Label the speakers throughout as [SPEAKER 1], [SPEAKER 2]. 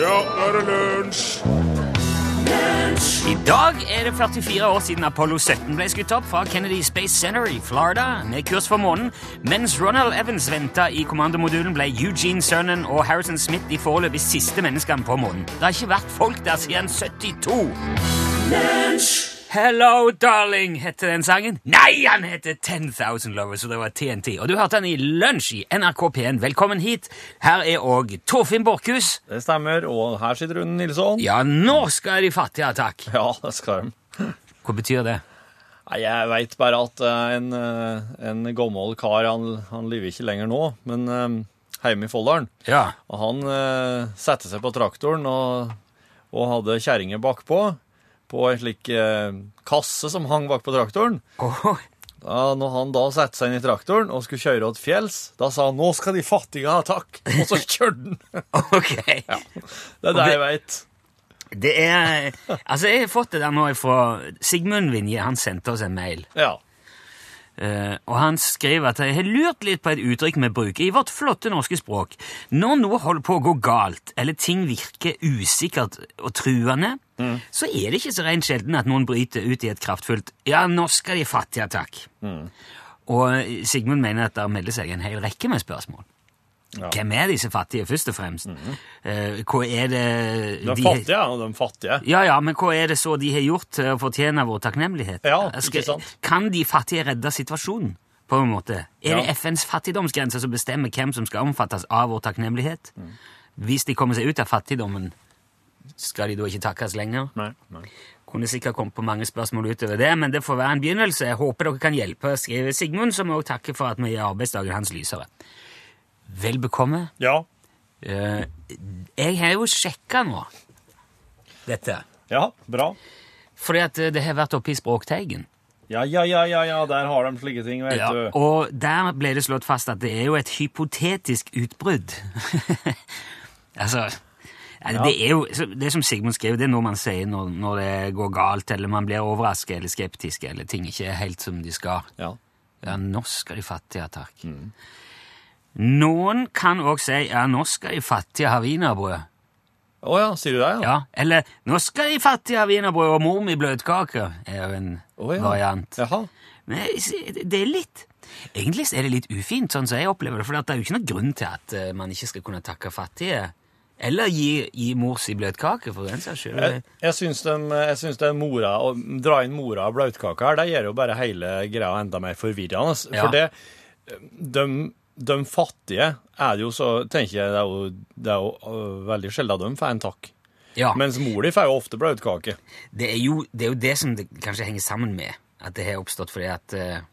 [SPEAKER 1] Ja, nå er det lunsj!
[SPEAKER 2] I dag er det 44 år siden Apollo 17 ble skutt opp fra Kennedy Space Center i Florida med kurs for månen. Mens Ronald Evans venta i kommandomodulen, ble Eugene Cernan og Harrison Smith de foreløpig siste menneskene på månen. Det har ikke vært folk der siden 72. Hello, darling, heter den sangen. Nei, han heter 10,000 Lovers, og det var TNT. Og du hørte han i Lunsj i NRK P1. Velkommen hit. Her er òg Torfinn Borchhus.
[SPEAKER 3] Det stemmer. Og her sitter Rune Nilsson.
[SPEAKER 2] Ja, nå skal de fattige ha takk.
[SPEAKER 3] Ja, det skal de.
[SPEAKER 2] Hva betyr det?
[SPEAKER 3] Nei, jeg veit bare at eh, en, eh, en gammel kar Han, han lever ikke lenger nå, men eh, hjemme i Folldalen.
[SPEAKER 2] Ja.
[SPEAKER 3] Og han eh, satte seg på traktoren og, og hadde kjerringer bakpå. På en slik eh, kasse som hang bakpå traktoren.
[SPEAKER 2] Åh.
[SPEAKER 3] Da, når han da satte seg inn i traktoren og skulle kjøre til fjells, da sa han 'nå skal de fattige ha takk', og så kjørte han.
[SPEAKER 2] Ok.
[SPEAKER 3] Det er det jeg veit.
[SPEAKER 2] Det er Altså, jeg har fått det der nå fra Sigmund Vinje. Han sendte oss en mail,
[SPEAKER 3] Ja.
[SPEAKER 2] eh, og han skriver at jeg har lurt litt på et uttrykk vi bruker i vårt flotte norske språk. Når noe holder på å gå galt, eller ting virker usikkert og truende,
[SPEAKER 3] Mm.
[SPEAKER 2] så er det ikke så rent sjelden at noen bryter ut i et kraftfullt 'ja, nå skal de fattige, takk'.
[SPEAKER 3] Mm.
[SPEAKER 2] Og eh, Sigmund mener at det melder seg en hel rekke med spørsmål.
[SPEAKER 3] Ja. Mm.
[SPEAKER 2] Hvem er disse fattige, først og fremst? Eh, hva er det
[SPEAKER 3] De fattige er de fattige.
[SPEAKER 2] Ja, ja, men hva er det så de har gjort til å fortjene vår takknemlighet?
[SPEAKER 3] Ja, ikke sant.
[SPEAKER 2] Kan de fattige redde situasjonen, på en måte? Er
[SPEAKER 3] Ja.
[SPEAKER 2] det FNs fattigdomsgrense som bestemmer hvem som skal omfattes av vår takknemlighet? Hvis de kommer seg ut av fattigdommen, skal de da ikke takkes lenger?
[SPEAKER 3] Nei, nei.
[SPEAKER 2] Kunne sikkert kommet på mange spørsmål utover det, men det får være en begynnelse. Jeg håper dere kan hjelpe, skriver Sigmund, som også takker for at vi gjør arbeidsdagen hans lysere. Vel bekomme.
[SPEAKER 3] Ja.
[SPEAKER 2] Eh, Jeg har jo sjekka nå dette.
[SPEAKER 3] Ja, bra.
[SPEAKER 2] Fordi at eh, det har vært oppe i Språkteigen.
[SPEAKER 3] Ja, ja, ja, ja, ja, der har de slike ting, vet du.
[SPEAKER 2] Og der ble det slått fast at det er jo et hypotetisk utbrudd. altså ja, Det er jo, så- det som Sigmund skrev, det er noe man sier når, når det går galt, eller man blir overrasket eller skeptisk, eller ting ikke er helt som de skal.
[SPEAKER 3] Ja.
[SPEAKER 2] Ja, nå skal de fattige ha takk.
[SPEAKER 3] Mm.
[SPEAKER 2] Noen kan òg si ja, nå skal de fattige ha wienerbrød.
[SPEAKER 3] Å ja, sier du det? Ja.
[SPEAKER 2] Ja, eller nå skal de fattige ha wienerbrød og mor mi bløtkake, er jo en
[SPEAKER 3] Å, ja.
[SPEAKER 2] variant.
[SPEAKER 3] Jaha.
[SPEAKER 2] Men jeg sy- det er litt Egentlig så er det litt ufint, sånn som jeg opplever det. For det er jo ikke noen grunn til at eh, man ikke skal kunne takke fattige. Eller gi, gi mor si bløtkake, for den saks
[SPEAKER 3] Jeg,
[SPEAKER 2] skyld.
[SPEAKER 3] jeg syns dem- jeg syns den mora, å dra inn mora og bløtkaka her, det gjør jo bare hele greia enda mer forvirrende.
[SPEAKER 2] Ja.
[SPEAKER 3] For det, de, de fattige er det jo så, tenker jeg, det er jo, det er jo øh, veldig sjelden de får en takk.
[SPEAKER 2] Ja,
[SPEAKER 3] Mens mor di får jo ofte bløtkake.
[SPEAKER 2] det er, jo, det er jo det som det kanskje henger sammen med at det har oppstått, fordi at eh,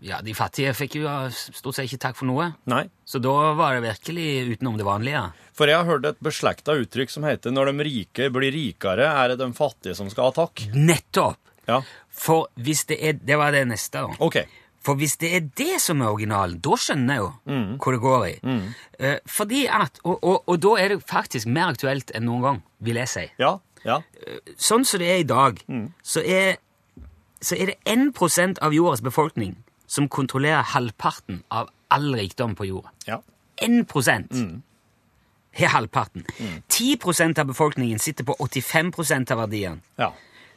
[SPEAKER 2] Ja, de fattige fikk jo eh, stort sett ikke takk for noe.
[SPEAKER 3] Nei.
[SPEAKER 2] Så da var det virkelig utenom det vanlige.
[SPEAKER 3] For jeg har hørt et beslekta uttrykk som heter 'når de rike blir rikere, er det de fattige som skal ha takk'.
[SPEAKER 2] Nettopp!
[SPEAKER 3] Ja,
[SPEAKER 2] For hvis det er Det var det neste, da.
[SPEAKER 3] OK.
[SPEAKER 2] For hvis det er det som er originalen, da skjønner jeg jo hvor det går i. Eh, fordi at, og, og, og da er det faktisk mer aktuelt enn noen gang, vil jeg si.
[SPEAKER 3] Ja, ja.
[SPEAKER 2] Sånn som det er i dag, så, er, så er det 1 av jordas befolkning som kontrollerer halvparten av all rikdom på jorda.
[SPEAKER 3] ja.
[SPEAKER 2] 1 har halvparten. 10 av befolkningen sitter på 85 av verdiene.
[SPEAKER 3] Ja.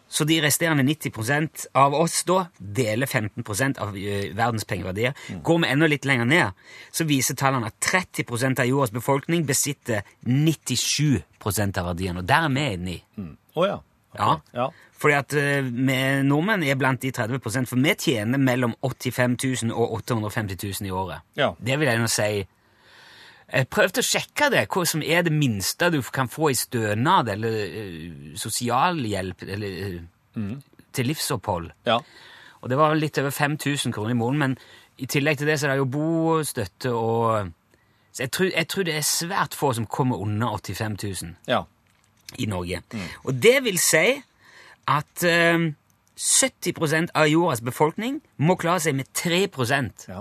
[SPEAKER 2] Så de resterende 90 av oss da deler 15 av ø, verdens pengeverdier. Går vi enda litt lenger ned, så viser tallene at 30 av jordas befolkning besitter 97 av verdiene, og der er vi inne i.
[SPEAKER 3] Mm. Å ja. Ok.
[SPEAKER 2] Ja.
[SPEAKER 3] ja.
[SPEAKER 2] Fordi at ø, vi nordmenn er blant de 30 for vi tjener mellom 85 000 og 850 000 i året.
[SPEAKER 3] Ja.
[SPEAKER 2] Det vil jeg nå si. Jeg prøvde å sjekke det, hva som er det minste du kan få i stønad eller ø, sosialhjelp eller ø, til livsopphold.
[SPEAKER 3] Ja.
[SPEAKER 2] Og det var vel litt over 5000 kroner i måneden, men i tillegg til det så er det jo bostøtte og så jeg tror, jeg tror det er svært få som kommer under 85 000
[SPEAKER 3] ja.
[SPEAKER 2] i Norge. Og det vil si at eh, 70 av jordas befolkning må klare seg med 3
[SPEAKER 3] Ja.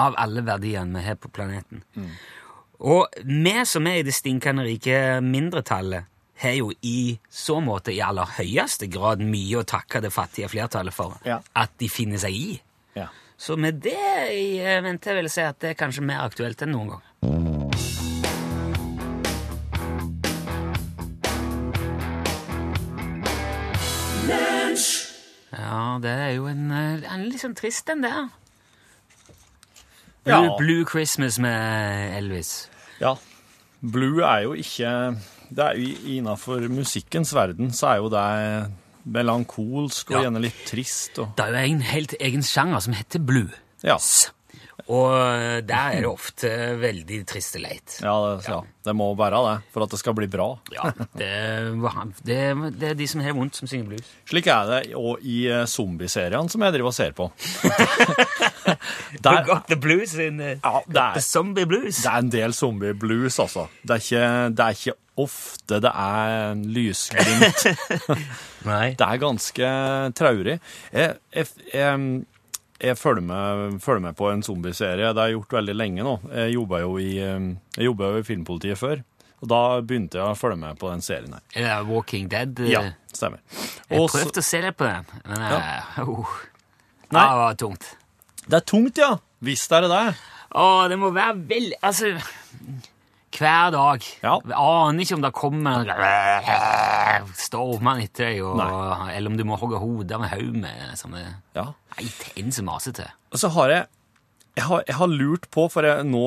[SPEAKER 2] av alle verdiene vi har på planeten.
[SPEAKER 3] Mm.
[SPEAKER 2] Og vi som er i det stinkende rike mindretallet, har jo i så måte i aller høyeste grad mye å takke det fattige flertallet for
[SPEAKER 3] Ja.
[SPEAKER 2] at de finner seg i.
[SPEAKER 3] ja.
[SPEAKER 2] Så med det i eh, vente vil jeg si at det er kanskje mer aktuelt enn noen gang.
[SPEAKER 1] Lunsj!
[SPEAKER 2] Ja, det er jo en, eh, en litt sånn trist den der.
[SPEAKER 3] Ja.
[SPEAKER 2] Blue, Blue Christmas med Elvis.
[SPEAKER 3] Ja. Blue er jo ikke det er jo Innafor musikkens verden så er jo det melankolsk og
[SPEAKER 2] Ja.
[SPEAKER 3] gjerne litt trist. Og,
[SPEAKER 2] Det er jo en helt egen sjanger som heter blues.
[SPEAKER 3] ja.
[SPEAKER 2] Og eh, der er det ofte veldig trist og leit.
[SPEAKER 3] Ja, det, ja, det må være det for at det skal bli bra.
[SPEAKER 2] Ja, det, var- det, det er de som har vondt, som synger blues.
[SPEAKER 3] Slik er det òg i eh, zombieseriene som jeg driver og ser på.
[SPEAKER 2] You
[SPEAKER 3] Der,
[SPEAKER 2] got the blues in eh, the,
[SPEAKER 3] ja, det,
[SPEAKER 2] the
[SPEAKER 3] er,
[SPEAKER 2] zombie blues.
[SPEAKER 3] det er en del zombie-blues, altså. Det er, ikke, det er ikke ofte det er en lysglimt.
[SPEAKER 2] Nei.
[SPEAKER 3] Det er ganske traurig. Jeg, jeg, jeg, jeg følger, med, følger med på en zombieserie. Det har jeg gjort veldig lenge nå. Jeg jobba jo, i, eh, jeg jobbet jo i Filmpolitiet før, og da begynte jeg å følge med på den serien her.
[SPEAKER 2] Er det Walking Dead.
[SPEAKER 3] Ja, stemmer.
[SPEAKER 2] Jeg
[SPEAKER 3] Og så-
[SPEAKER 2] prøvde å se litt på det, men eh, oh.
[SPEAKER 3] Nei.
[SPEAKER 2] det var tungt.
[SPEAKER 3] Det er tungt, ja. Visst er det det.
[SPEAKER 2] Å, det må være veldig Altså Hver dag.
[SPEAKER 3] Ja.
[SPEAKER 2] Jeg aner ikke om det kommer stormer etter deg, og,
[SPEAKER 3] Nei.
[SPEAKER 2] eller om du må hogge hoder med haug med sånne
[SPEAKER 3] Ja.
[SPEAKER 2] Nei, den som maser til.
[SPEAKER 3] Og så har jeg jeg har, jeg har lurt på, for jeg, nå,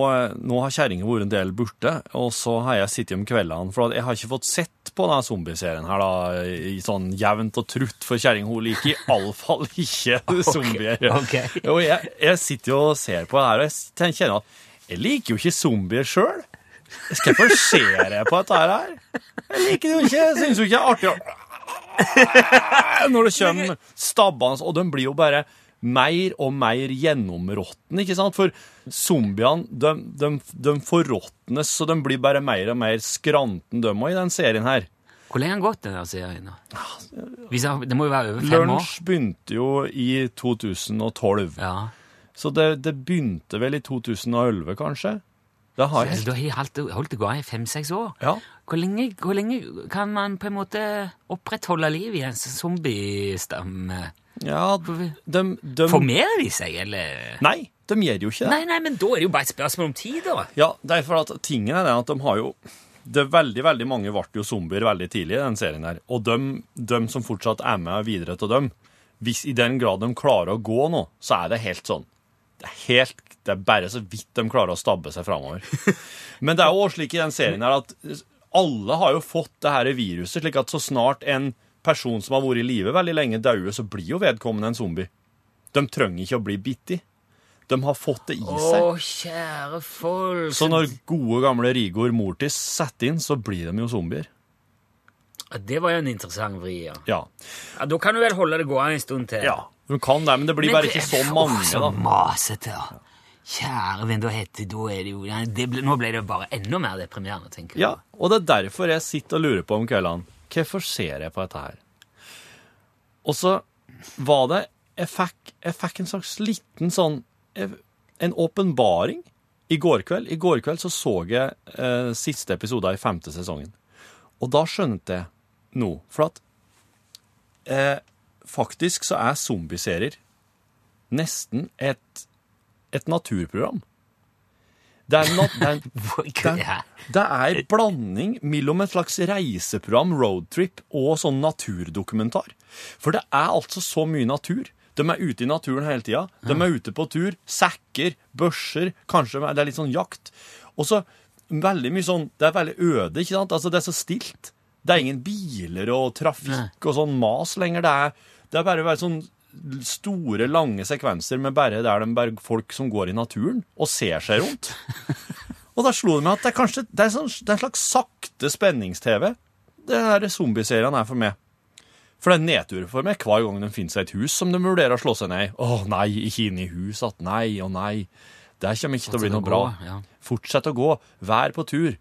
[SPEAKER 3] nå har kjerringa vært en del borte, og så har jeg sittet om kveldene, for jeg har ikke fått sett på denne zombieserien her, da, i i sånn jevnt og trutt, for kjerringa hun liker iallfall ikke zombier.
[SPEAKER 2] ok.
[SPEAKER 3] Og jeg, jeg sitter jo og ser på det her, og jeg s- ten- kjenner at jeg liker jo ikke zombier sjøl. Skal jeg få se det på dette her? Jeg liker det jo ikke. Jeg syns jo ikke det er artig å Når det kommer stabbene, og de blir jo bare mer og mer gjennområtne, ikke sant? For zombiene, de, de, de forråtnes, så de blir bare mer og mer skranten, de òg, i den serien her.
[SPEAKER 2] Hvor lenge har den gått, den der serien? nå? Hvis jeg, det må jo være over fem år?
[SPEAKER 3] Ah, Lunsj begynte jo i 2012,
[SPEAKER 2] Ja.
[SPEAKER 3] så det, det begynte vel i 2011, kanskje? Det har
[SPEAKER 2] Altså,
[SPEAKER 3] jeg.
[SPEAKER 2] du har holdt, holdt det gående i fem-seks år.
[SPEAKER 3] Ja.
[SPEAKER 2] Hvor, lenge, hvor lenge kan man på en måte opprettholde liv i en zombiestamme?
[SPEAKER 3] ja de, de,
[SPEAKER 2] Formerer de seg, eller?
[SPEAKER 3] Nei, de gjør jo ikke det.
[SPEAKER 2] Nei, nei, men da er det jo bare et spørsmål om tid, da.
[SPEAKER 3] Ja, det er for at tingen er den at de har jo det er veldig, veldig Mange ble jo zombier veldig tidlig i den serien. her, Og de, som fortsatt er med videre til dem, hvis i den grad de klarer å gå nå, så er det helt sånn. Det er, helt, det er bare så vidt de klarer å stabbe seg framover. Men det er jo også slik i den serien her at alle har jo fått det her viruset, slik at så snart en person som har vært i live veldig lenge, dauer, så blir jo vedkommende en zombie. De trenger ikke å bli bitt i. De har fått det i
[SPEAKER 2] Å,
[SPEAKER 3] seg.
[SPEAKER 2] kjære folk.
[SPEAKER 3] Så når gode gamle Rigor Mortis setter inn, så blir de jo zombier.
[SPEAKER 2] Ja, Det var jo en interessant vri, ja.
[SPEAKER 3] Ja.
[SPEAKER 2] ja. Da kan du vel holde det gående en stund til.
[SPEAKER 3] De kan det, men det blir
[SPEAKER 2] Men
[SPEAKER 3] bare
[SPEAKER 2] det-
[SPEAKER 3] ikke så
[SPEAKER 2] Åh,
[SPEAKER 3] mange,
[SPEAKER 2] så
[SPEAKER 3] da.
[SPEAKER 2] masete, da. Kjære venn, da heter da er det jo nei, det ble, Nå ble det bare enda mer deprimerende, tenker jeg.
[SPEAKER 3] Ja, og det er derfor jeg sitter og lurer på om kveldene. Hvorfor ser jeg på dette her? Og så var det Jeg fikk, jeg fikk en slags liten sånn jeg- En åpenbaring i går kveld. I går kveld så så jeg eh, siste episode i femte sesongen. Og da skjønte jeg noe. For at eh, faktisk så er zombieserier nesten et, et naturprogram. Det er, nat det er,
[SPEAKER 2] Hvor-
[SPEAKER 3] det,
[SPEAKER 2] ja.
[SPEAKER 3] det er en blanding mellom et slags reiseprogram, roadtrip, og sånn naturdokumentar. For det er altså så mye natur. De er ute i naturen hele tida. De er ute på tur. Sekker, børser, kanskje det er litt sånn jakt. Og så veldig mye sånn Det er veldig øde, ikke sant? Altså, det er så stilt. Det er ingen biler og trafikk og sånn mas lenger. Det er, det er bare, bare sånn store, lange sekvenser med bare der de bare folk som går i naturen og ser seg rundt. Og da slo det meg at det er kanskje det er sånn, det er en slags sakte spennings-TV. Det her zombieserien er for meg. For det er nedtur for meg hver gang de finner seg et hus som de vurderer å slå seg ned i. Å nei, ikke inn i hus at nei og nei. Det kommer ikke til å bli
[SPEAKER 2] Fortsett å
[SPEAKER 3] noe bra.
[SPEAKER 2] gå, ja.
[SPEAKER 3] Fortsett å gå. Vær på tur.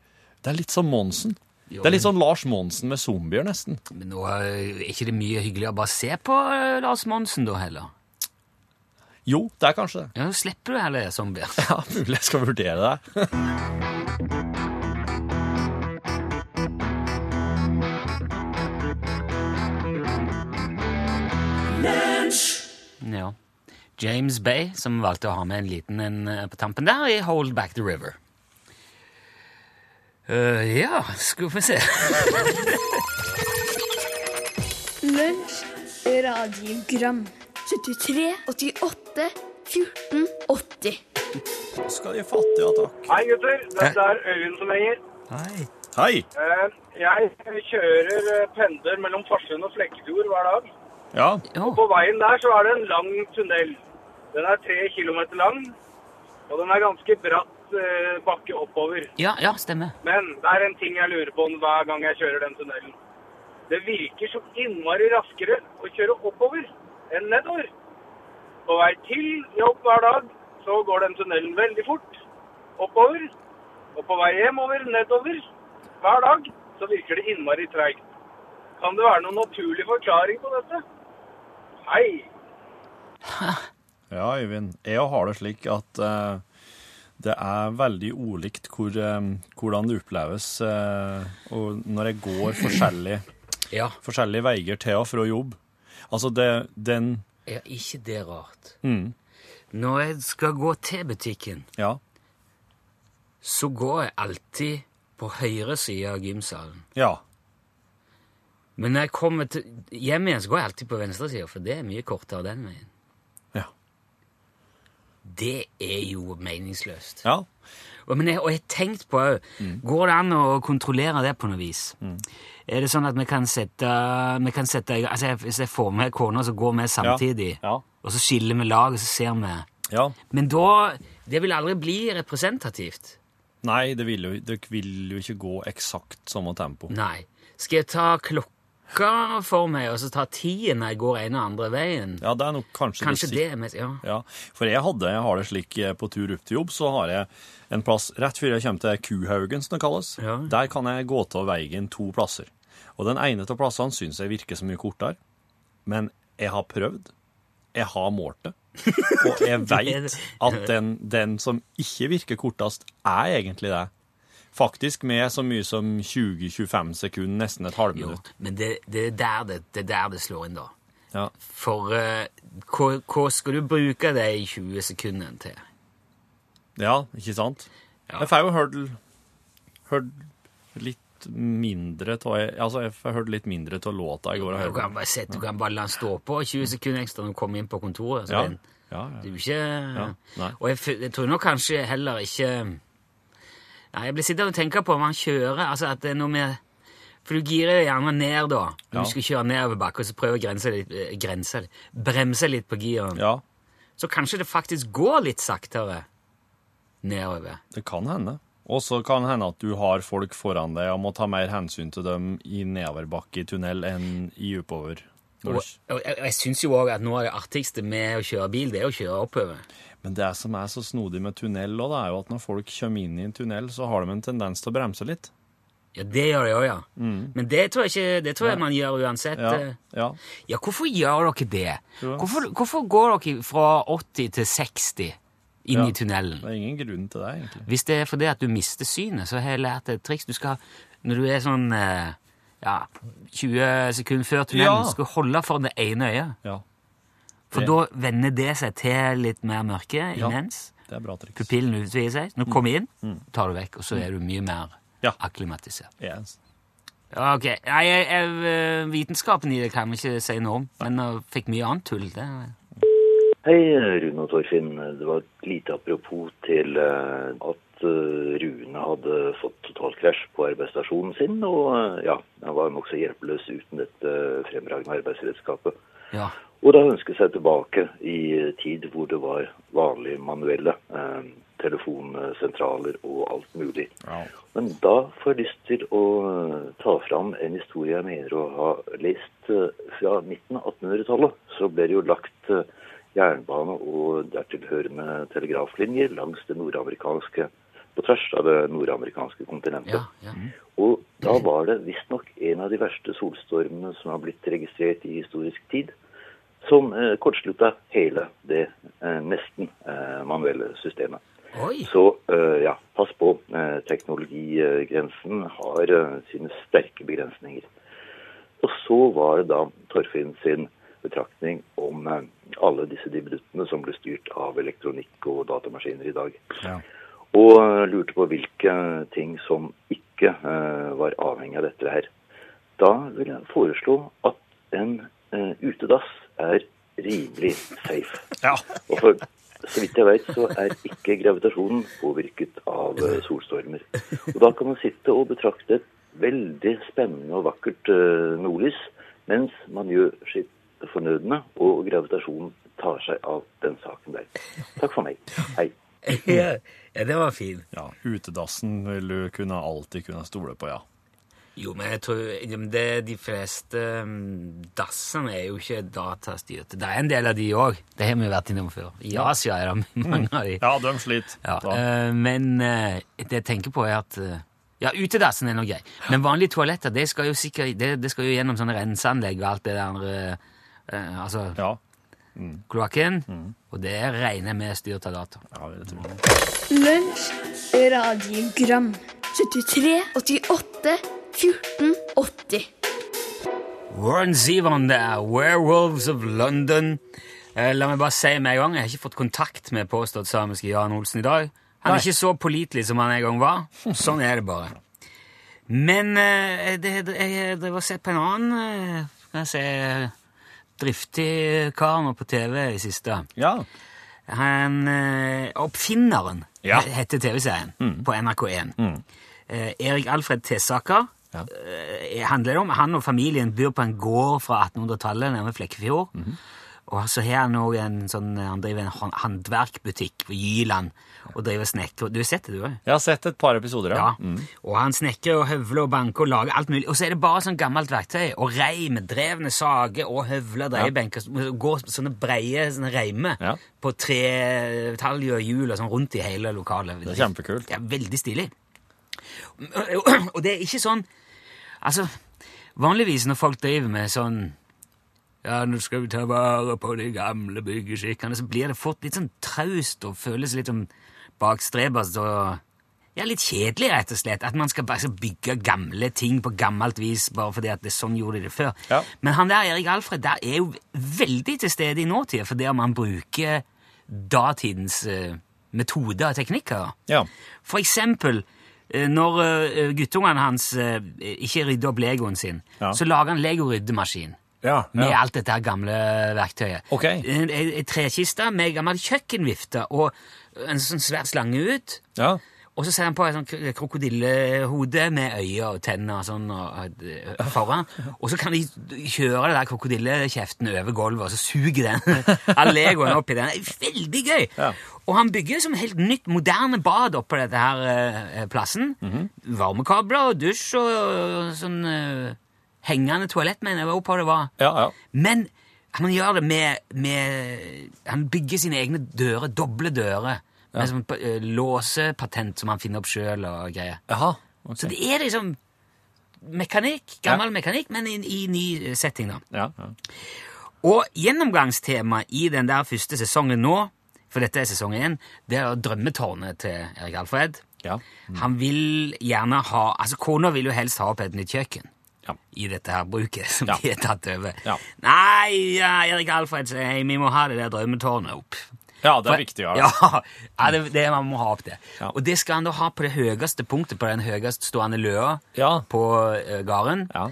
[SPEAKER 3] Det er litt som Monsen.
[SPEAKER 2] Jo,
[SPEAKER 3] Det er litt sånn Lars Monsen med zombier, nesten.
[SPEAKER 2] Men nå eh, er ikke det mye hyggeligere å bare se på eh, Lars Monsen, da, heller?
[SPEAKER 3] Jo, det er kanskje det.
[SPEAKER 2] Ja, Nå slipper du heller zombier.
[SPEAKER 3] Ja, mulig jeg skal vurdere det.
[SPEAKER 2] Ja. James Bay, som valgte å ha med en liten en eh, på tampen der, i Hold Back the River. Eh, ja, skal vi se
[SPEAKER 4] Lunsj,
[SPEAKER 1] Radiogram 73 88 14 80
[SPEAKER 3] Skal de fattige ha takk.
[SPEAKER 4] Hei, gutter. Dette er Øyvind som ringer.
[SPEAKER 2] Hei.
[SPEAKER 3] Hei.
[SPEAKER 4] Eh, Jeg kjører eh, pendler mellom Farsund og Flekkefjord hver dag.
[SPEAKER 3] Ja.
[SPEAKER 2] Ja.
[SPEAKER 4] På veien der så er det en lang tunnel. Den er tre kilometer lang, og den er ganske bratt eh, bakke oppover.
[SPEAKER 2] Ja, ja, stemmer.
[SPEAKER 4] Men det er en ting jeg lurer på hver gang jeg kjører den tunnelen. Det virker så innmari raskere å kjøre oppover enn nedover. På vei til jobb hver dag så går den tunnelen veldig fort oppover. Og på vei hjemover, nedover, hver dag, så virker det innmari treigt. Kan det være noen naturlig forklaring på dette? Hei!
[SPEAKER 3] Ja, Øyvind. Jeg òg har det slik at eh, det er veldig ulikt hvor, eh, hvordan det oppleves eh, og når jeg går forskjellig,
[SPEAKER 2] Ja,
[SPEAKER 3] forskjellige veier til og fra jobb. Altså, det, den
[SPEAKER 2] er ikke det rart?
[SPEAKER 3] mm,
[SPEAKER 2] Når jeg skal gå til butikken,
[SPEAKER 3] Ja.
[SPEAKER 2] så går jeg alltid på høyre side av gymsalen.
[SPEAKER 3] Ja.
[SPEAKER 2] Men når jeg kommer til hjem igjen, så går jeg alltid på venstre side, for det er mye kortere den veien.
[SPEAKER 3] Ja.
[SPEAKER 2] Det er jo meningsløst.
[SPEAKER 3] ja.
[SPEAKER 2] Og, men jeg, og jeg har tenkt på òg
[SPEAKER 3] Mm.
[SPEAKER 2] Går det an å kontrollere det på noe vis? Er det sånn at vi kan sette, vi kan sette i gang- altså jeg, Hvis jeg får med kona, så går vi samtidig,
[SPEAKER 3] Ja.
[SPEAKER 2] og så skiller vi lag, og så ser vi
[SPEAKER 3] ja.
[SPEAKER 2] Men da Det vil aldri bli representativt.
[SPEAKER 3] Nei, det vil, jo, det vil jo ikke gå eksakt samme tempo.
[SPEAKER 2] Nei. Skal jeg ta klokka for meg, og så ta tiden når jeg går ene og andre veien?
[SPEAKER 3] Ja, det er nok kanskje,
[SPEAKER 2] Kanskje
[SPEAKER 3] siste-
[SPEAKER 2] det er mest Ja.
[SPEAKER 3] Ja, for jeg hadde, jeg har det slik eh, på tur opp til jobb, så har jeg en plass rett før jeg kommer til Kuhaugen, som det kalles.
[SPEAKER 2] Ja.
[SPEAKER 3] Der kan jeg gå til veien to plasser. Og den ene av plassene syns jeg virker så mye kortere, men jeg har prøvd. Jeg har målt det. Og jeg veit at den, den som ikke virker kortest, er egentlig det. Faktisk med så mye som 20-25 sekunder, nesten et
[SPEAKER 2] Jo,
[SPEAKER 3] halvminutt.
[SPEAKER 2] men det, det, er der det, det er der det slår inn, da.
[SPEAKER 3] Ja.
[SPEAKER 2] For eh, hva, hva skal du bruke de 20 sekundene til?
[SPEAKER 3] ja, ikke sant?
[SPEAKER 2] Ja.
[SPEAKER 3] Jeg får jo hørt, hørt litt mindre av Altså, jeg får hørt litt mindre av låta i går.
[SPEAKER 2] Du
[SPEAKER 3] og hørt-
[SPEAKER 2] kan bare, sette, du kan bare la den stå på 20 sekunder ekstra når du kommer inn på kontoret. Så
[SPEAKER 3] Mm. Ja.
[SPEAKER 2] den,
[SPEAKER 3] Ja,
[SPEAKER 2] det
[SPEAKER 3] ja.
[SPEAKER 2] er jo ikke...
[SPEAKER 3] nei.
[SPEAKER 2] og jeg, f- jeg tror nok kanskje heller ikke... Nei, jeg blir sittende og tenke på om han kjører, altså at det er noe med... For du girer jo gjerne ned da, når
[SPEAKER 3] Ja.
[SPEAKER 2] du skal kjøre nedover bakken, og så prøver å grense litt, eh, grense, litt- bremse litt på giren.
[SPEAKER 3] ja,
[SPEAKER 2] Så kanskje det faktisk går litt saktere nedover.
[SPEAKER 3] det kan hende. Og så kan det hende at du har folk foran deg og må ta mer hensyn til dem i nedoverbakke i tunnel enn i oppover. Når
[SPEAKER 2] Og,
[SPEAKER 3] du-
[SPEAKER 2] og jeg, jeg synes jo også at noe av det artigste med å kjøre bil, det er å kjøre oppover.
[SPEAKER 3] Men det som er så snodig med tunnel, og det er jo at når folk kommer inn i en tunnel, så har de en tendens til å bremse litt.
[SPEAKER 2] Ja, det gjør det òg, ja. Men det tror jeg, ikke, det tror jeg man gjør uansett. eh.
[SPEAKER 3] Mm. Ja, ja.
[SPEAKER 2] Ja, hvorfor gjør dere det?
[SPEAKER 3] Ja.
[SPEAKER 2] Hvorfor, hvorfor går dere fra 80 til 60 inn
[SPEAKER 3] Ja.
[SPEAKER 2] i tunnelen?
[SPEAKER 3] Det er ingen grunn til det, egentlig.
[SPEAKER 2] Hvis det er fordi at du mister synet, så har jeg lært et triks. Du skal, når du er sånn eh, ja, 20 sekunder før tunnelen,
[SPEAKER 3] Ja.
[SPEAKER 2] skal du holde for det ene øyet.
[SPEAKER 3] Ja,
[SPEAKER 2] For
[SPEAKER 3] Det-
[SPEAKER 2] da vender det seg til litt mer mørke
[SPEAKER 3] Ja.
[SPEAKER 2] imens.
[SPEAKER 3] det er bra triks.
[SPEAKER 2] Pupillen utvider seg. Når du kommer inn, tar du vekk, og så er du mye mer
[SPEAKER 3] Ja.
[SPEAKER 2] akklimatisert.
[SPEAKER 3] Yes.
[SPEAKER 2] Ja, ok. Nei, jeg, jeg, vitenskapen i det kan vi ikke si noe om. Men jeg fikk mye annet tull. Det.
[SPEAKER 5] Hei, Rune og Torfinn. Det var et lite apropos til eh, at eh, Rune hadde fått totalkrasj på arbeidsstasjonen sin, og eh, ja, han var nokså hjelpeløs uten dette fremragende arbeidsredskapet.
[SPEAKER 2] Ja.
[SPEAKER 5] Og da ønsket seg tilbake i tid hvor det var vanlige manuelle eh, telefonsentraler og alt mulig.
[SPEAKER 3] Ja.
[SPEAKER 5] Men da får jeg lyst til å eh, ta fram en historie jeg mener å ha lest eh, fra midten av 1800-tallet. Så ble det jo lagt eh, jernbane og dertilhørende telegraflinjer langs det nordamerikanske på tvers av det nordamerikanske kontinentet.
[SPEAKER 2] Ja, ja.
[SPEAKER 5] Og da var det visstnok en av de verste solstormene som har blitt registrert i historisk tid, som eh, kortslutta hele det eh, nesten eh, manuelle systemet.
[SPEAKER 2] Oi!
[SPEAKER 5] Så eh, ja, pass på. Eh, teknologigrensen har eh, sine sterke begrensninger. Og så var det da Torfinn sin betraktning om eh, alle disse dibbeduttene som ble styrt av elektronikk og datamaskiner i dag.
[SPEAKER 3] Ja.
[SPEAKER 5] Og eh, lurte på hvilke ting som ikke eh, var avhengig av dette her. Da vil jeg foreslå at en eh, utedass er rimelig safe.
[SPEAKER 3] Ja.
[SPEAKER 5] Og for så vidt jeg vet, så er ikke gravitasjonen påvirket av eh, solstormer. Og da kan man sitte og betrakte et veldig spennende og vakkert eh, nordlys mens man gjør sitt fornødne, og gravitasjonen tar seg av den saken der. Takk for meg. Hei.
[SPEAKER 2] ja, det var fin.
[SPEAKER 3] ja. Utedassen vil du kunne alltid kunne stole på, ja.
[SPEAKER 2] Jo, men jeg tror ja, men det, de fleste mm, dassene er jo ikke datastyrte. Det er en del av de Mm. òg. Det har vi vært innom før. I Asia er det mange av de.
[SPEAKER 3] Ja, de sliter.
[SPEAKER 2] Ja,
[SPEAKER 3] Da.
[SPEAKER 2] eh, men eh, det jeg tenker på er at eh, Ja, utedassen er nå grei. Men vanlige toaletter det skal jo sikkert, det, det skal jo gjennom sånne renseanlegg og alt det der eh, eh, Altså
[SPEAKER 3] Ja.
[SPEAKER 2] kloakken. Og det regner jeg med er styrt av data.
[SPEAKER 3] ja, jeg tror det.
[SPEAKER 1] Lunsj, radiogram 73, 88, 14, 80
[SPEAKER 2] Warren Zevon der, Werewolves of London. Eh, La meg bare si med en gang, jeg har ikke fått kontakt med påstått samiske Jan Olsen i dag. Han er ikke så pålitelig som han en gang var. Sånn er det bare. Men eh, jeg- det, det, jeg drev og så på en annen eh, kan jeg si, driftig kar nå på TV i siste.
[SPEAKER 3] Ja.
[SPEAKER 2] Han, eh, oppfinneren
[SPEAKER 3] Ja. Mm.
[SPEAKER 2] heter TV-serien på NRK1. Eh, Erik Alfred Tessaker
[SPEAKER 3] Ja.
[SPEAKER 2] eh, handler det om. Han og familien bor på en gård fra 1800-tallet nærme Flekkefjord.
[SPEAKER 3] Mhm.
[SPEAKER 2] Og så har han også en sånn, han driver en hånd- håndverkbutikk på Jyland og driver snekker. Du har sett det, du òg?
[SPEAKER 3] Jeg har sett et par episoder,
[SPEAKER 2] Ja.
[SPEAKER 3] ja. Mm.
[SPEAKER 2] Og han snekrer og høvler og banker og lager alt mulig. Og så er det bare sånn gammelt verktøy og reim, drevne sager og høvler, dreiebenker, ja. går sånne breie sånne reimer
[SPEAKER 3] Ja.
[SPEAKER 2] på tretaljer og hjul og sånn rundt i hele lokalet.
[SPEAKER 3] Det er kjempekult.
[SPEAKER 2] Det er veldig stilig. Og det er ikke sånn Altså, vanligvis når folk driver med sånn ja, nå skal vi ta vare på de gamle byggeskikkene. Så blir det fort litt sånn traust og føles litt sånn bakstrebers og ja, litt kjedelig, rett og slett. At man skal bare skal bygge gamle ting på gammelt vis bare fordi at det er sånn gjorde de det før.
[SPEAKER 3] Ja.
[SPEAKER 2] Men han der Erik Alfred der er jo veldig til stede i nåtida, for der man bruker datidens eh, metoder og teknikker. da.
[SPEAKER 3] Ja.
[SPEAKER 2] For eksempel eh, når eh, guttungene hans eh, ikke rydder opp legoen sin,
[SPEAKER 3] Ja.
[SPEAKER 2] så lager han legoryddemaskin
[SPEAKER 3] Ja.
[SPEAKER 2] med
[SPEAKER 3] ja.
[SPEAKER 2] alt dette her gamle verktøyet.
[SPEAKER 3] Ok.
[SPEAKER 2] En, en, en trekiste med gammel kjøkkenvifte og en sånn svær slange ut.
[SPEAKER 3] ja.
[SPEAKER 2] Og så ser han på et sånt kro- krokodillehode med øyne og tenner og sånn og, og, foran. Og så kan de kjøre det der krokodillekjeften over gulvet, og så suger den all legoen opp i den. Det er Veldig gøy!
[SPEAKER 3] Ja.
[SPEAKER 2] Og han bygger som helt nytt, moderne bad oppå dette her eh, plassen. Varmekabler og dusj og, og sånn eh, hengende toalett, mener jeg var oppå det var.
[SPEAKER 3] ja, ja.
[SPEAKER 2] Men han gjør det med, med Han bygger sine egne dører, doble dører. Med sånn pa- eh, låsepatent som han finner opp sjøl og greier.
[SPEAKER 3] Jaha.
[SPEAKER 2] Så
[SPEAKER 3] ok.
[SPEAKER 2] det er liksom mekanikk, gammel mekanikk, men i, i ny eh, setting, da.
[SPEAKER 3] Ja, ja.
[SPEAKER 2] Og gjennomgangstema i den der første sesongen nå, for dette er sesong én, det er drømmetårnet til Erik Alfred.
[SPEAKER 3] Ja.
[SPEAKER 2] Han vil gjerne ha Altså, kona vil jo helst ha opp et nytt kjøkken
[SPEAKER 3] Ja.
[SPEAKER 2] i dette her bruket som
[SPEAKER 3] Ja.
[SPEAKER 2] de har tatt over.
[SPEAKER 3] Ja.
[SPEAKER 2] Nei, ja, Erik Alfred sier «Hei, vi må ha det der drømmetårnet opp.
[SPEAKER 3] ja, det
[SPEAKER 2] For-
[SPEAKER 3] er viktig, ja.
[SPEAKER 2] Ja, ja det, det, man må ha opp det.
[SPEAKER 3] Ja.
[SPEAKER 2] Og det skal han da ha på det høyeste punktet på den høyest stående løa
[SPEAKER 3] Ja.
[SPEAKER 2] på eh, gården.
[SPEAKER 3] Ja.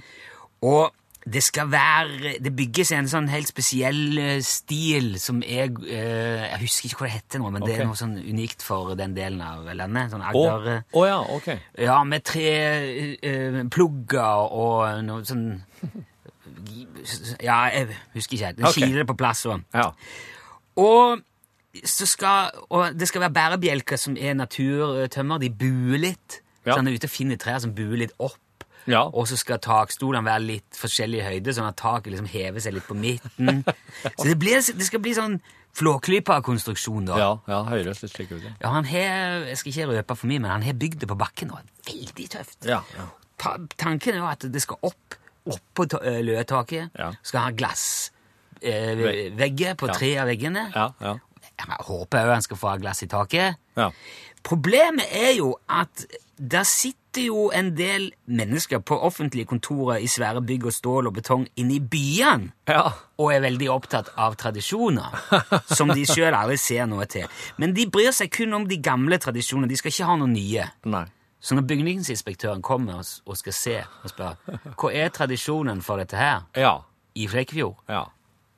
[SPEAKER 2] Og det skal være Det bygges en sånn helt spesiell eh, stil som er eh, Jeg husker ikke hva det heter nå, men det
[SPEAKER 3] Ok.
[SPEAKER 2] er noe sånn unikt for den delen av landet. Sånn
[SPEAKER 3] Å
[SPEAKER 2] Agder... eh,
[SPEAKER 3] å ja, ok.
[SPEAKER 2] ja, med tre eh, plugger og noe sånn Ja, jeg husker ikke helt. Den
[SPEAKER 3] Ok.
[SPEAKER 2] kiler på plass. Og,
[SPEAKER 3] Ja.
[SPEAKER 2] og, så skal, og det skal være bærebjelker som er naturtømmer. De buer litt.
[SPEAKER 3] Ja.
[SPEAKER 2] Så han er ute og finner trær som buer litt opp.
[SPEAKER 3] Ja.
[SPEAKER 2] Og så skal takstolene være litt forskjellig høyde, sånn at taket liksom hever seg litt på midten. Så det, blir, det skal bli sånn flåklypa-konstruksjon, da.
[SPEAKER 3] Ja, ja, høres litt slik ut. ja.
[SPEAKER 2] Ja, han har, jeg skal ikke røpe for mye, men han har bygd det på bakken. og det er Veldig tøft.
[SPEAKER 3] Ja, ja.
[SPEAKER 2] Ta, tanken er jo at det skal opp, opp på ta- eh, løetaket.
[SPEAKER 3] Ja.
[SPEAKER 2] Skal ha
[SPEAKER 3] Vegg.
[SPEAKER 2] glassvegger på
[SPEAKER 3] Ja.
[SPEAKER 2] tre av veggene.
[SPEAKER 3] Ja, ja.
[SPEAKER 2] Jeg håper òg han skal få ha glass i taket.
[SPEAKER 3] Ja.
[SPEAKER 2] Problemet er jo at der sitter jo en del mennesker på offentlige kontorer i svære bygg og stål og betong inne i byene
[SPEAKER 3] Ja.
[SPEAKER 2] og er veldig opptatt av tradisjoner, som de sjøl aldri ser noe til. Men de bryr seg kun om de gamle tradisjonene, de skal ikke ha noen nye.
[SPEAKER 3] Nei.
[SPEAKER 2] Så når bygningsinspektøren kommer og s- og skal se og spør hva er tradisjonen for dette her,
[SPEAKER 3] Ja.
[SPEAKER 2] i Flekkefjord.
[SPEAKER 3] Ja.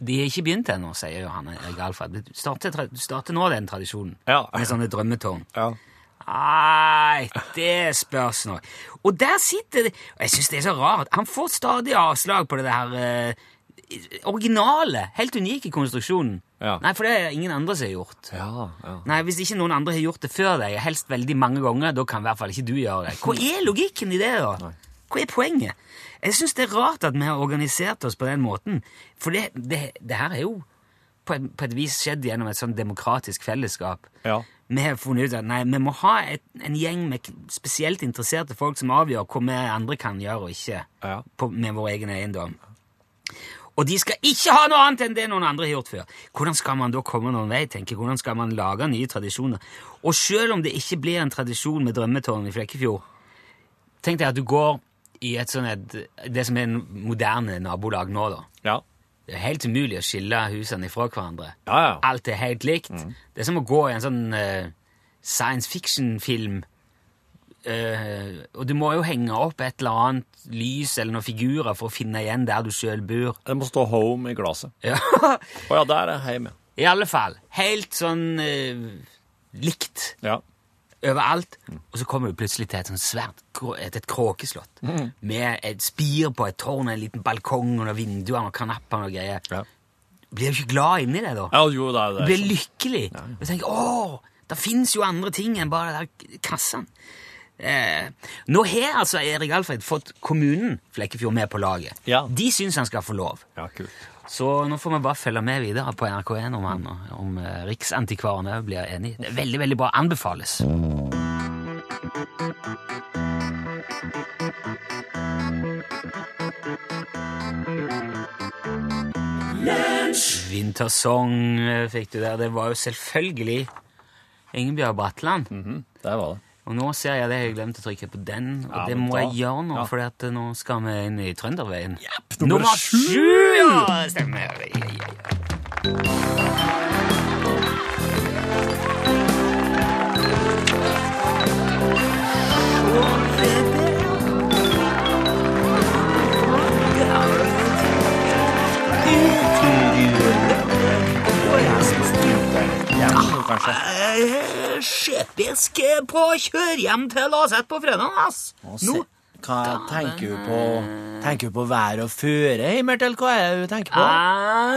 [SPEAKER 2] De har ikke begynt ennå, sier Johanne Erik Alfred. Du starter, tra- du starter nå den tradisjonen
[SPEAKER 3] Ja.
[SPEAKER 2] med sånne drømmetårn.
[SPEAKER 3] Ja.
[SPEAKER 2] Nei, det spørs nå. Og der sitter det og Jeg syns det er så rart. Han får stadig avslag på det her eh, originale, helt unike konstruksjonen.
[SPEAKER 3] Ja.
[SPEAKER 2] Nei, for det er ingen andre som har gjort.
[SPEAKER 3] Ja, ja.
[SPEAKER 2] Nei, Hvis ikke noen andre har gjort det før deg, helst veldig mange ganger, da kan i hvert fall ikke du gjøre det. Hva er logikken i det, da? Hva er poenget? Jeg syns det er rart at vi har organisert oss på den måten, for det, det, det her er jo på et, på et vis skjedd gjennom et sånn demokratisk fellesskap.
[SPEAKER 3] Ja.
[SPEAKER 2] Vi har funnet ut at nei, vi må ha et, en gjeng med k- spesielt interesserte folk som avgjør hva vi andre kan gjøre og ikke
[SPEAKER 3] Ja.
[SPEAKER 2] på, med vår egen eiendom. Og de skal ikke ha noe annet enn det noen andre har gjort før. Hvordan skal man da komme noen vei? tenker jeg? Hvordan skal man lage nye tradisjoner? Og selv om det ikke blir en tradisjon med drømmetårn i Flekkefjord, tenk deg at du går i et sånn et, det som er en moderne nabolag nå, da.
[SPEAKER 3] Ja.
[SPEAKER 2] Det er helt umulig å skille husene ifra hverandre.
[SPEAKER 3] Ja, ja. Mm.
[SPEAKER 2] Alt er helt likt. Det er som å gå i en sånn eh, science fiction-film. Eh, og du må jo henge opp et eller annet lys eller noen figurer for å finne igjen der du sjøl bor.
[SPEAKER 3] Det må stå home i glasset.
[SPEAKER 2] Ja.
[SPEAKER 3] Å ja, der er hjemme.
[SPEAKER 2] I alle fall. Helt sånn eh, likt
[SPEAKER 3] Ja.
[SPEAKER 2] overalt.
[SPEAKER 3] Mm.
[SPEAKER 2] Og så kommer du plutselig til et sånn svært krå- et, et kråkeslott
[SPEAKER 3] Mm.
[SPEAKER 2] med et spir på et tårn, en liten balkong og noen vinduer og kanapper og noe greier.
[SPEAKER 3] Ja.
[SPEAKER 2] Blir du ikke glad inni det, da?
[SPEAKER 3] ja, jo, det er sånn. det.
[SPEAKER 2] Du blir lykkelig. Du tenker 'Å, det fins jo andre ting enn bare den der kassen'. Eh, nå har altså Erik Alfred fått kommunen Flekkefjord med på laget.
[SPEAKER 3] Ja.
[SPEAKER 2] De syns han skal få lov.
[SPEAKER 3] Ja, kult.
[SPEAKER 2] Så nå får vi bare følge med videre på NRK1 om, han, om eh, Riksantikvaren òg blir enig. Det er veldig, veldig bra. Anbefales. Vintersong eh, fikk du der. Det var jo selvfølgelig Ingebjørg Bratland.
[SPEAKER 3] Der var det.
[SPEAKER 2] Og nå ser jeg det, jeg har glemt å trykke på den, og
[SPEAKER 3] Ja,
[SPEAKER 2] det
[SPEAKER 3] men
[SPEAKER 2] må
[SPEAKER 3] da-
[SPEAKER 2] jeg gjøre nå,
[SPEAKER 3] ja.
[SPEAKER 2] for nå skal vi inn i Trønderveien.
[SPEAKER 3] nummer
[SPEAKER 2] nummer
[SPEAKER 3] sju!
[SPEAKER 2] sju! Ja, det stemmer. Ja, ja, ja.
[SPEAKER 3] Kanskje.
[SPEAKER 2] Eh, Skipet skal på kjøre hjem til Laset på fredag, ass. Nå.
[SPEAKER 3] Hva tenker du på?
[SPEAKER 2] Mm.
[SPEAKER 3] Tenker du på vær og føre, Mørtel? Hva E, er det du tenker
[SPEAKER 2] Ah.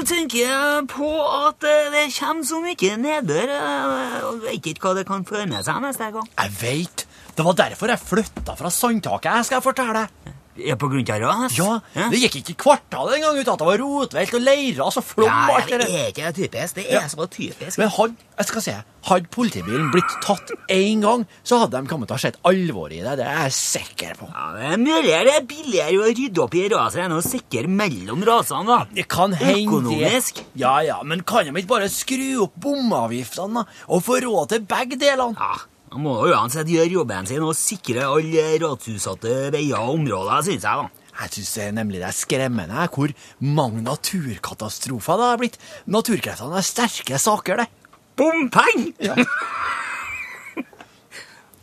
[SPEAKER 2] Jeg tenker på at eh, det kommer så mye nedbør, eh, og vet ikke hva det kan føre med seg neste gang.
[SPEAKER 3] Jeg veit! Det var derfor jeg flytta fra sandtaket. Jeg skal fortelle deg.
[SPEAKER 2] Er Eh, på grunn av ras?
[SPEAKER 3] Ja, Det gikk ikke kvartalet engang uten at det var rotvelt og leirer og flom. og alt
[SPEAKER 2] Ja,
[SPEAKER 3] det
[SPEAKER 2] det
[SPEAKER 3] der.
[SPEAKER 2] er ikke typisk. Det
[SPEAKER 3] Ja.
[SPEAKER 2] er så typisk.
[SPEAKER 3] Men hadde, jeg skal si, hadde politibilen blitt tatt én gang, så hadde de kommet til å ha sett alvoret i det. Det er jeg sikker på.
[SPEAKER 2] Ja, det er muligere, det er billigere å rydde opp i raser enn å sikre mellom rasene, da.
[SPEAKER 3] Det kan hende
[SPEAKER 2] Økonomisk?
[SPEAKER 3] Ja, ja, men kan de ikke bare skru opp bomavgiftene da, og få råd til begge delene?
[SPEAKER 2] Ja, man må jo uansett gjøre jobben sin og sikre alle rasutsatte veier og områder, synes jeg, da.
[SPEAKER 3] Jeg syns nemlig det er skremmende her, hvor mange naturkatastrofer det har blitt. Naturkreftene er sterke saker, det.
[SPEAKER 2] Bompeng!
[SPEAKER 3] Ja.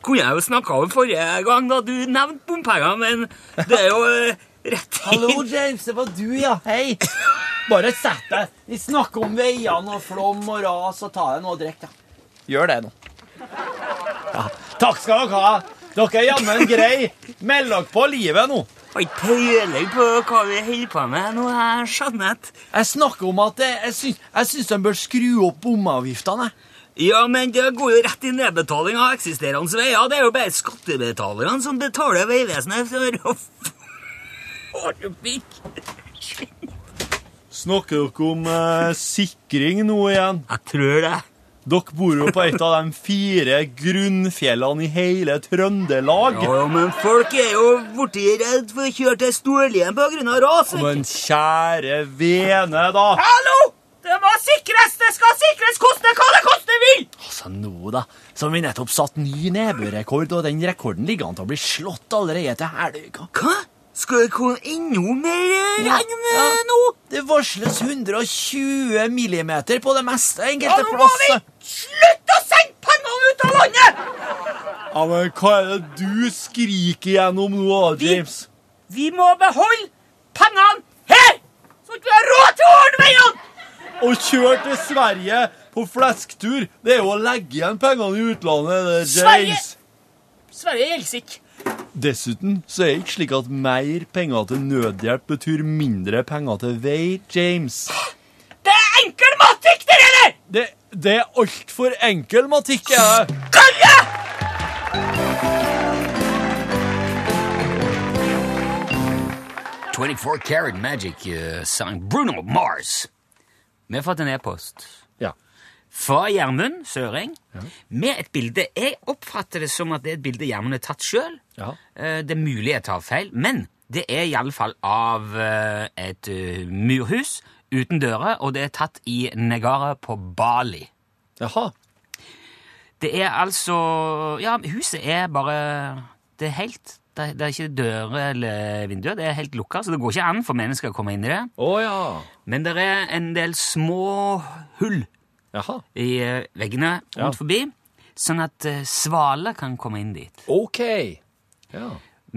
[SPEAKER 2] Kunne jeg jo snakka om forrige gang da du nevnte bompenger, men det er jo eh, rett
[SPEAKER 3] Hallo,
[SPEAKER 2] inn.
[SPEAKER 3] James, det var du, ja. Hei. Bare sett deg. Vi snakker om veiene og flom og ras, og ta deg noe å drikke. da. Gjør det nå. Ja. Takk skal dere ha. Dere er jammen greie. Meld dere på livet nå.
[SPEAKER 2] Har ikke peiling på hva vi holder på med nå, jeg skjønner at
[SPEAKER 3] Jeg snakker om at jeg, jeg, syns, jeg syns de bør skru opp bomavgiftene. jeg.
[SPEAKER 2] Ja, men det går jo rett i nedbetaling av eksisterende veier. Det er jo bare skattebetalerne som betaler Vegvesenet for å f- Har du pikk?
[SPEAKER 3] Snakker dere om eh, sikring nå igjen?
[SPEAKER 2] Jeg tror det.
[SPEAKER 3] Dere bor jo på et av de fire grunnfjellene i hele Trøndelag.
[SPEAKER 2] Ja, ja, men folk er jo borti redd for å kjøre til Storlien på grunn av ras. vet du.
[SPEAKER 3] Men kjære vene, da.
[SPEAKER 2] Hallo! Det må sikres! Det skal sikres! Koste hva det koste vil!
[SPEAKER 3] Altså nå da, så har vi nettopp satt ny nedbørrekord, og den rekorden ligger an til å bli slått allerede til helga.
[SPEAKER 2] Hva? Skal det komme enda mer eh, regn eh,
[SPEAKER 3] Ja.
[SPEAKER 2] nå?
[SPEAKER 3] Det varsles 120 millimeter på det meste
[SPEAKER 2] Ja,
[SPEAKER 3] enkelte
[SPEAKER 2] nå må vi
[SPEAKER 3] plasser.
[SPEAKER 2] slutte å sende pengene ut av landet!
[SPEAKER 3] Ja, men hva er det du skriker gjennom nå, James?
[SPEAKER 2] Vi må beholde pannene her! Så ikke vi har råd til å ordne veiene!
[SPEAKER 3] Å kjøre til Sverige på flesktur, det er jo å legge igjen pengene i utlandet. Det,
[SPEAKER 2] Sverige!
[SPEAKER 3] James.
[SPEAKER 2] Sverre Gjelsik.
[SPEAKER 3] Dessuten så er det ikke slik at mer penger til nødhjelp betyr mindre penger til vei, James.
[SPEAKER 2] Det er enkel matematikk, det der!
[SPEAKER 3] Det, det er altfor enkel matikk. Jeg.
[SPEAKER 2] Kalle! «24 Karat Magic» eh, sang Bruno Mars. Vi har fått en e-post
[SPEAKER 3] Ja.
[SPEAKER 2] fra Gjermund Søreng med et bilde. Jeg oppfatter det som at det er et bilde Gjermund har tatt sjøl.
[SPEAKER 3] Ja.
[SPEAKER 2] Det er mulig jeg tar feil, men det er iallfall av eh, et eh, murhus uten dører, og det er tatt i Negara på Bali.
[SPEAKER 3] Jaha.
[SPEAKER 2] Det er altså Ja, huset er bare Det er helt det er, det er ikke dører eller vinduer, det er helt lukka, så det går ikke an for mennesker å komme inn i det.
[SPEAKER 3] Å ja.
[SPEAKER 2] Men det er en del små hull
[SPEAKER 3] Jaha.
[SPEAKER 2] i eh, veggene rundt
[SPEAKER 3] Ja.
[SPEAKER 2] forbi, sånn at eh, svaler kan komme inn dit.
[SPEAKER 3] OK. Ja.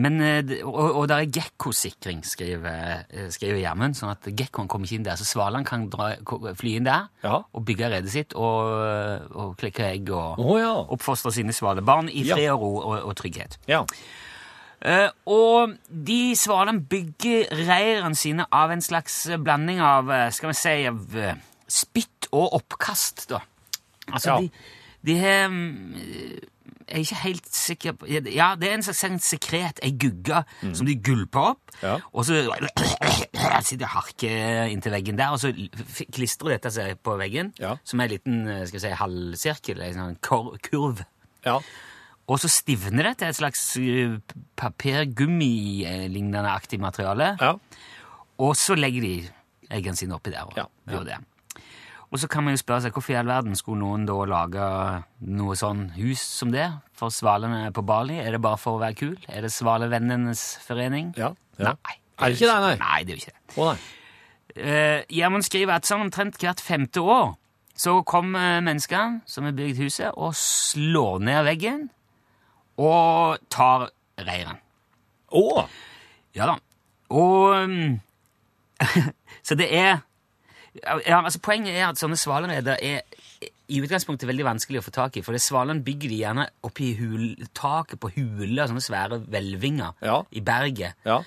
[SPEAKER 2] Men, eh, det- og, og det er gekkosikring, skriver, eh, skriver Gjermund, sånn at gekkoen kommer ikke inn der. Så svalene kan dra, ko- fly inn der
[SPEAKER 3] Ja.
[SPEAKER 2] og bygge redet sitt og, og klekke egg og
[SPEAKER 3] Å ja.
[SPEAKER 2] oppfostre sine svalebarn i
[SPEAKER 3] Ja.
[SPEAKER 2] fred og ro og, og trygghet.
[SPEAKER 3] ja.
[SPEAKER 2] Eh, og de svalene bygger reirene sine av en slags eh, blanding av eh, skal vi si, av eh, spytt og oppkast. da. Altså,
[SPEAKER 3] Ja.
[SPEAKER 2] de, de har mm, Jeg er ikke helt sikker på Ja, det er en slags en sekret, ei gugge, som de gulper opp.
[SPEAKER 3] Mm. Ja.
[SPEAKER 2] Og så sitter og harker inntil veggen der, og så f- klistrer dette seg på veggen,
[SPEAKER 3] Ja.
[SPEAKER 2] som er en liten eh, skal vi si, halvsirkel, en sånn kor kurv.
[SPEAKER 3] ja.
[SPEAKER 2] Og så stivner det til et slags eh, papirgummi-lignende aktig materiale.
[SPEAKER 3] ja.
[SPEAKER 2] Og så legger de eggene sine oppi der. Og,
[SPEAKER 3] Ja, ja.
[SPEAKER 2] gjør det. og så kan man jo spørre seg hvorfor i all verden skulle noen da lage noe sånn hus som det for svalene på Bali? Er det bare for å være kul? Er det Svalevennenes forening?
[SPEAKER 3] Ja, ja.
[SPEAKER 2] Nei.
[SPEAKER 3] Er det ikke det, nei?
[SPEAKER 2] Nei, det er jo ikke det.
[SPEAKER 3] Å nei.
[SPEAKER 2] Eh, Gjermund skriver at sånn omtrent hvert femte år så kommer menneskene som har bygd huset, og slår ned veggen og tar reiren.
[SPEAKER 3] Å!
[SPEAKER 2] Ja da. Og um, Så det er ja, altså Poenget er at sånne svalereder er i utgangspunktet veldig vanskelig å få tak i. For det svalene bygger de gjerne oppi hul, taket på huler, sånne svære hvelvinger
[SPEAKER 3] Ja.
[SPEAKER 2] i berget.
[SPEAKER 3] Ja.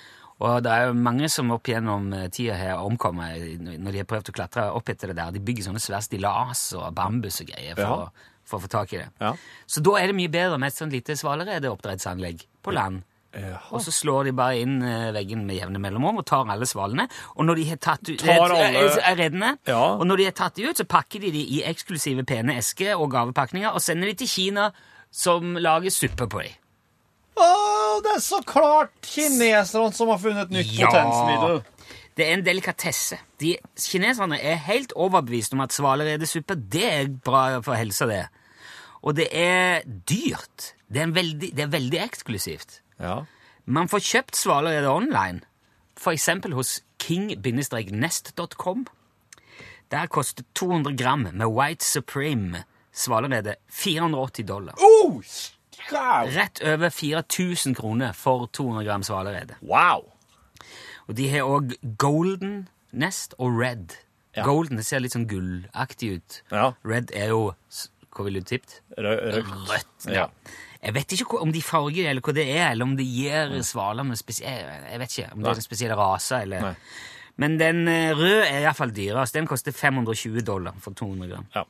[SPEAKER 2] Og det er jo mange som opp gjennom eh, tida har omkommet i- når de har prøvd å klatre opp etter det der. De bygger sånne svære stillas og bambus og greier for,
[SPEAKER 3] Ja.
[SPEAKER 2] å, for å få tak i det.
[SPEAKER 3] Ja.
[SPEAKER 2] Så da er det mye bedre med et sånt lite svaleredeoppdrettsanlegg på land.
[SPEAKER 3] Jaha.
[SPEAKER 2] Og så slår de bare inn eh, veggen med jevne mellomrom og tar alle svalene. Og når de har tatt ut
[SPEAKER 3] Tar alle-
[SPEAKER 2] eh, eh, reddene,
[SPEAKER 3] Ja.
[SPEAKER 2] og når de har tatt de ut, så pakker de de i eksklusive pene esker og gavepakninger og sender de til Kina, som lager suppe på dem.
[SPEAKER 3] Å, det er så klart kineserne som har funnet et nytt
[SPEAKER 2] Ja.
[SPEAKER 3] potensmiddel.
[SPEAKER 2] Det er en delikatesse. De Kineserne er helt overbevist om at svaleredesuppe det er bra for helsa, det. Og det er dyrt. Det er, en veldig, det er veldig eksklusivt.
[SPEAKER 3] Ja.
[SPEAKER 2] Man får kjøpt svalerede online, for eksempel hos king-nest.com. Der koster 200 gram med White Supreme svalerede 480 dollar.
[SPEAKER 3] Oh, skau.
[SPEAKER 2] Rett over 4000 kroner for 200 gram svalerede.
[SPEAKER 3] wow!
[SPEAKER 2] Og de har òg Golden Nest og Red.
[SPEAKER 3] Ja.
[SPEAKER 2] Golden det ser litt sånn gullaktig ut.
[SPEAKER 3] Ja.
[SPEAKER 2] Red er jo s- Hva ville du tippet?
[SPEAKER 3] Rø røkt.
[SPEAKER 2] Rødt.
[SPEAKER 3] Ja.
[SPEAKER 2] Ja. Jeg vet ikke hva- om de farger eller hva det er, eller om de gir
[SPEAKER 3] Mm.
[SPEAKER 2] svaler med spesielle Jeg vet ikke om det er en spesiell rase eller
[SPEAKER 3] Nei.
[SPEAKER 2] Men den eh, røde er iallfall dyrest. Den koster 520 dollar for 200 gram.
[SPEAKER 3] Ja.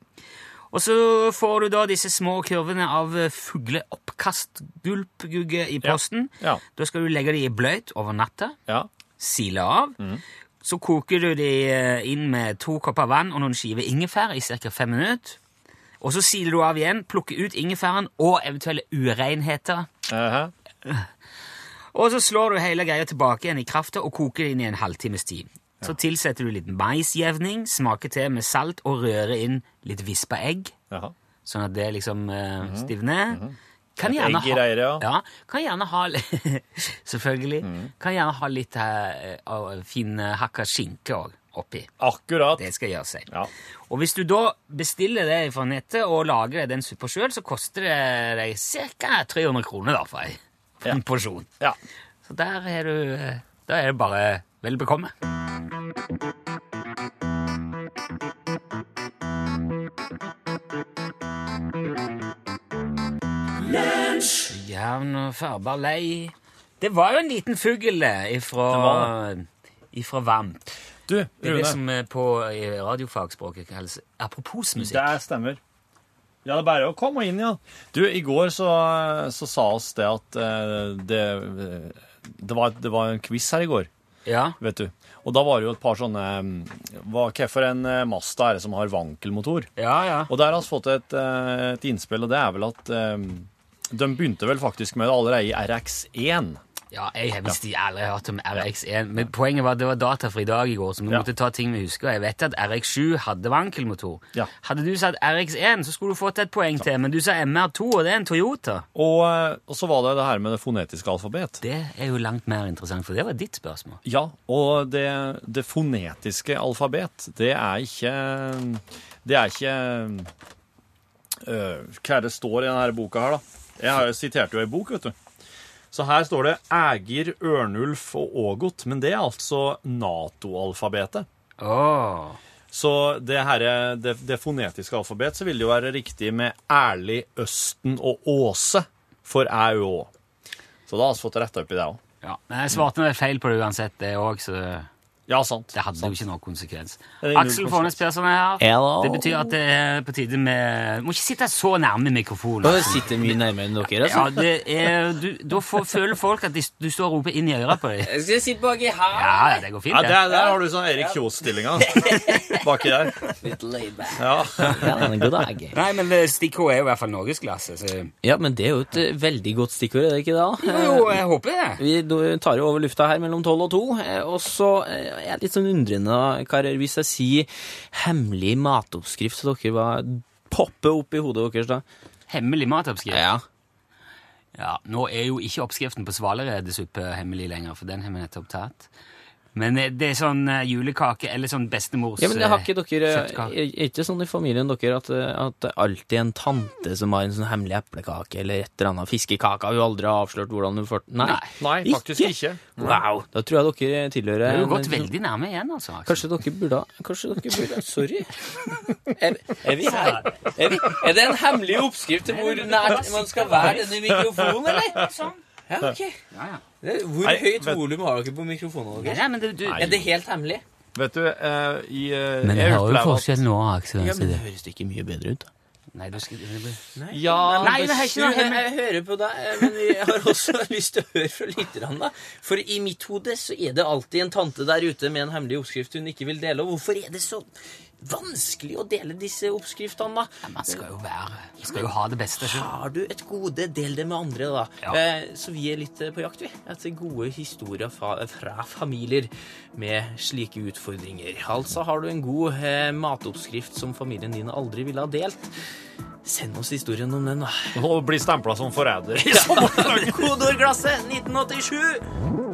[SPEAKER 2] Og så får du da disse små kurvene av eh, fugleoppkastgulpgugge i posten.
[SPEAKER 3] Ja.
[SPEAKER 2] Da skal du legge de i bløt over natta
[SPEAKER 3] ja.
[SPEAKER 2] sile av. Så koker du de eh, inn med to kopper vann og noen skiver ingefær i ca. fem minutter. Og så siler du av igjen, plukker ut ingefæren og eventuelle urenheter.
[SPEAKER 3] Ehe.
[SPEAKER 2] Og så slår du hele greia tilbake igjen i krafta og koker det inn i en halvtimes tid. Så tilsetter du litt maisjevning, smaker til med salt og rører inn litt vispa egg,
[SPEAKER 3] Jaha.
[SPEAKER 2] sånn at det liksom eh, stivner. Kan
[SPEAKER 3] Mhm. Et
[SPEAKER 2] gjerne
[SPEAKER 3] egg i
[SPEAKER 2] ha-
[SPEAKER 3] reiret, ja. Mhm.
[SPEAKER 2] ja. Kan gjerne ha Selvfølgelig. Kan gjerne ha litt eh, av fin eh, hakka skinke òg oppi.
[SPEAKER 3] Akkurat.
[SPEAKER 2] Det skal gjøre seg.
[SPEAKER 3] Ja.
[SPEAKER 2] Og hvis du da bestiller det fra nettet og lager deg den suppa sjøl, så koster det deg ca. 300 kroner da, for ei
[SPEAKER 3] Ja.
[SPEAKER 2] en porsjon.
[SPEAKER 3] Ja.
[SPEAKER 2] Så der er du eh, Da er det bare Vel bekomme. Jevn og farbar lei. Det var jo en liten fugl ifra, ifra Vamp.
[SPEAKER 3] Du,
[SPEAKER 2] Det er det
[SPEAKER 3] Rune,
[SPEAKER 2] som eh, på i radiofagspråket kalles aproposmusikk.
[SPEAKER 3] det stemmer. Ja, det er bare å komme inn, ja. Du, i går så, så sa oss det at eh, det, det, var, det var en quiz her i går.
[SPEAKER 2] Ja.
[SPEAKER 3] vet du. Og da var det jo et par sånne mm, Hva hvorfor en eh, Mazda er det som har vankelmotor?
[SPEAKER 2] Ja, ja.
[SPEAKER 3] Og der har vi fått et, eh, et innspill, og det er vel at eh, de begynte vel faktisk med det allerede i RX1.
[SPEAKER 2] ja jeg har visst aldri hørt om RX1, men poenget var at det var datafri dag i går, så vi
[SPEAKER 3] Ja.
[SPEAKER 2] måtte ta ting vi husker. Og jeg vet at RX7 hadde vankelmotor.
[SPEAKER 3] Ja.
[SPEAKER 2] Hadde du sagt RX1, så skulle du fått et poeng til, men du sa MR2, og det er en Toyota.
[SPEAKER 3] Og, eh, og så var det det her med det fonetiske alfabet.
[SPEAKER 2] Det er jo langt mer interessant, for det var ditt spørsmål.
[SPEAKER 3] Ja, og det, det fonetiske alfabet, det er ikke Det er ikke øh, Hva er det står i denne boka her, da? Jeg har jo sitert jo ei bok, vet du. Så her står det Ægir, Ørnulf og Ågot, men det er altså Nato-alfabetet.
[SPEAKER 2] Åh.
[SPEAKER 3] Så det, her, det, det fonetiske alfabet, så vil det jo være riktig med Ærlig, Østen og Åse for æ, ø, å. Så da har vi fått retta opp i det òg.
[SPEAKER 2] Ja. Men jeg svarte vel feil på det uansett, det òg, så
[SPEAKER 3] Ja, sant.
[SPEAKER 2] det hadde jo ikke noen konsekvens.
[SPEAKER 3] Det er null
[SPEAKER 2] Aksel
[SPEAKER 3] konsekvens.
[SPEAKER 2] Faanes Persson er her.
[SPEAKER 6] Hello.
[SPEAKER 2] Det betyr at det er på tide med Du må ikke sitte så nærme mikrofonen.
[SPEAKER 6] Og det
[SPEAKER 2] Aksel.
[SPEAKER 6] sitter mye nærmere enn dere,
[SPEAKER 2] Ja,
[SPEAKER 6] altså.
[SPEAKER 2] det er, du, da får, føler folk at de, du står og roper inn i øret på dem.
[SPEAKER 6] Jeg skal sitte baki her.
[SPEAKER 2] Ja, ja, det går
[SPEAKER 3] Ja,
[SPEAKER 2] fint,
[SPEAKER 3] der,
[SPEAKER 2] det.
[SPEAKER 3] der har du sånn Erik Kjos-stillinga baki der.
[SPEAKER 6] Litt laid back.
[SPEAKER 3] Ja.
[SPEAKER 6] Ja, men god dag.
[SPEAKER 2] Nei, men eh, stikkordet er jo i hvert fall norgesklasse, så Jo,
[SPEAKER 6] Ja, men det er jo et eh, veldig godt stikkord, er det ikke det? da?
[SPEAKER 2] jo, jeg håper det.
[SPEAKER 6] Vi do- tar jo over lufta her mellom tolv og to, eh, og så eh, er jeg litt sånn undrende, karer, hvis jeg sier hemmelig matoppskrift, så dere bare popper opp i hodet deres da.
[SPEAKER 2] Hemmelig matoppskrift. Ja, nå er jo ikke oppskriften på svaleredesuppe hemmelig lenger, for den har vi nettopp tatt. Men eh, det er sånn eh, julekake eller sånn bestemors
[SPEAKER 6] Ja, men det har ikke
[SPEAKER 2] eh,
[SPEAKER 6] dere,
[SPEAKER 2] kjøttkake.
[SPEAKER 6] er er ikke sånn i familien dere at, eh, at det alltid er en tante som har en sånn hemmelig eplekake eller et eller annet fiskekake, har jo aldri avslørt hvordan hun får... Nei,
[SPEAKER 3] Nei, faktisk ikke.
[SPEAKER 6] Wow, da tror jeg dere tilhører...
[SPEAKER 2] Du har
[SPEAKER 6] en-
[SPEAKER 2] gått veldig nærme igjen, altså. Aksel.
[SPEAKER 6] Kanskje dere burde Kanskje dere burde Sorry. Er, er vi her? Er, vi, er det en hemmelig oppskrift til hvor nært man skal være denne mikrofonen, eller? Ja, ok.
[SPEAKER 2] Ja, ja.
[SPEAKER 6] Det- Hvor
[SPEAKER 3] Nei,
[SPEAKER 6] høyt
[SPEAKER 3] vet-
[SPEAKER 6] volum har dere på mikrofonen
[SPEAKER 2] Nei,
[SPEAKER 6] deres?
[SPEAKER 2] nei, men det, du,
[SPEAKER 6] Er det helt hemmelig?
[SPEAKER 3] Vet du, eh, i eh,
[SPEAKER 2] men
[SPEAKER 3] jeg
[SPEAKER 2] jeg hører jo
[SPEAKER 3] opplever at-
[SPEAKER 2] forskjell nå, Aksel.
[SPEAKER 6] Ja, men det
[SPEAKER 2] det.
[SPEAKER 6] høres ikke mye bedre ut, da.
[SPEAKER 2] Nei, da skal det blir-
[SPEAKER 3] Ja,
[SPEAKER 2] Nei, det er ikke noe
[SPEAKER 6] Sune,
[SPEAKER 2] hemmelig.
[SPEAKER 6] jeg hører på deg, eh, men jeg har også lyst til å høre fra lytterne. da. For i mitt hode så er det alltid en tante der ute med en hemmelig oppskrift hun ikke vil dele. Og hvorfor er det så vanskelig å dele disse oppskriftene, da?
[SPEAKER 2] Ja, Man skal jo være Man skal jo ha det beste sjøl.
[SPEAKER 6] Har du et gode, del det med andre, da.
[SPEAKER 2] Ja.
[SPEAKER 6] Eh, så vi er litt eh, på jakt, vi. Etter gode historier fra, fra familier med slike utfordringer. Altså har du en god eh, matoppskrift som familien din aldri ville ha delt. Send oss historien om den, da.
[SPEAKER 3] Å bli stempla som forræder.
[SPEAKER 6] Kodeordglasset 1987!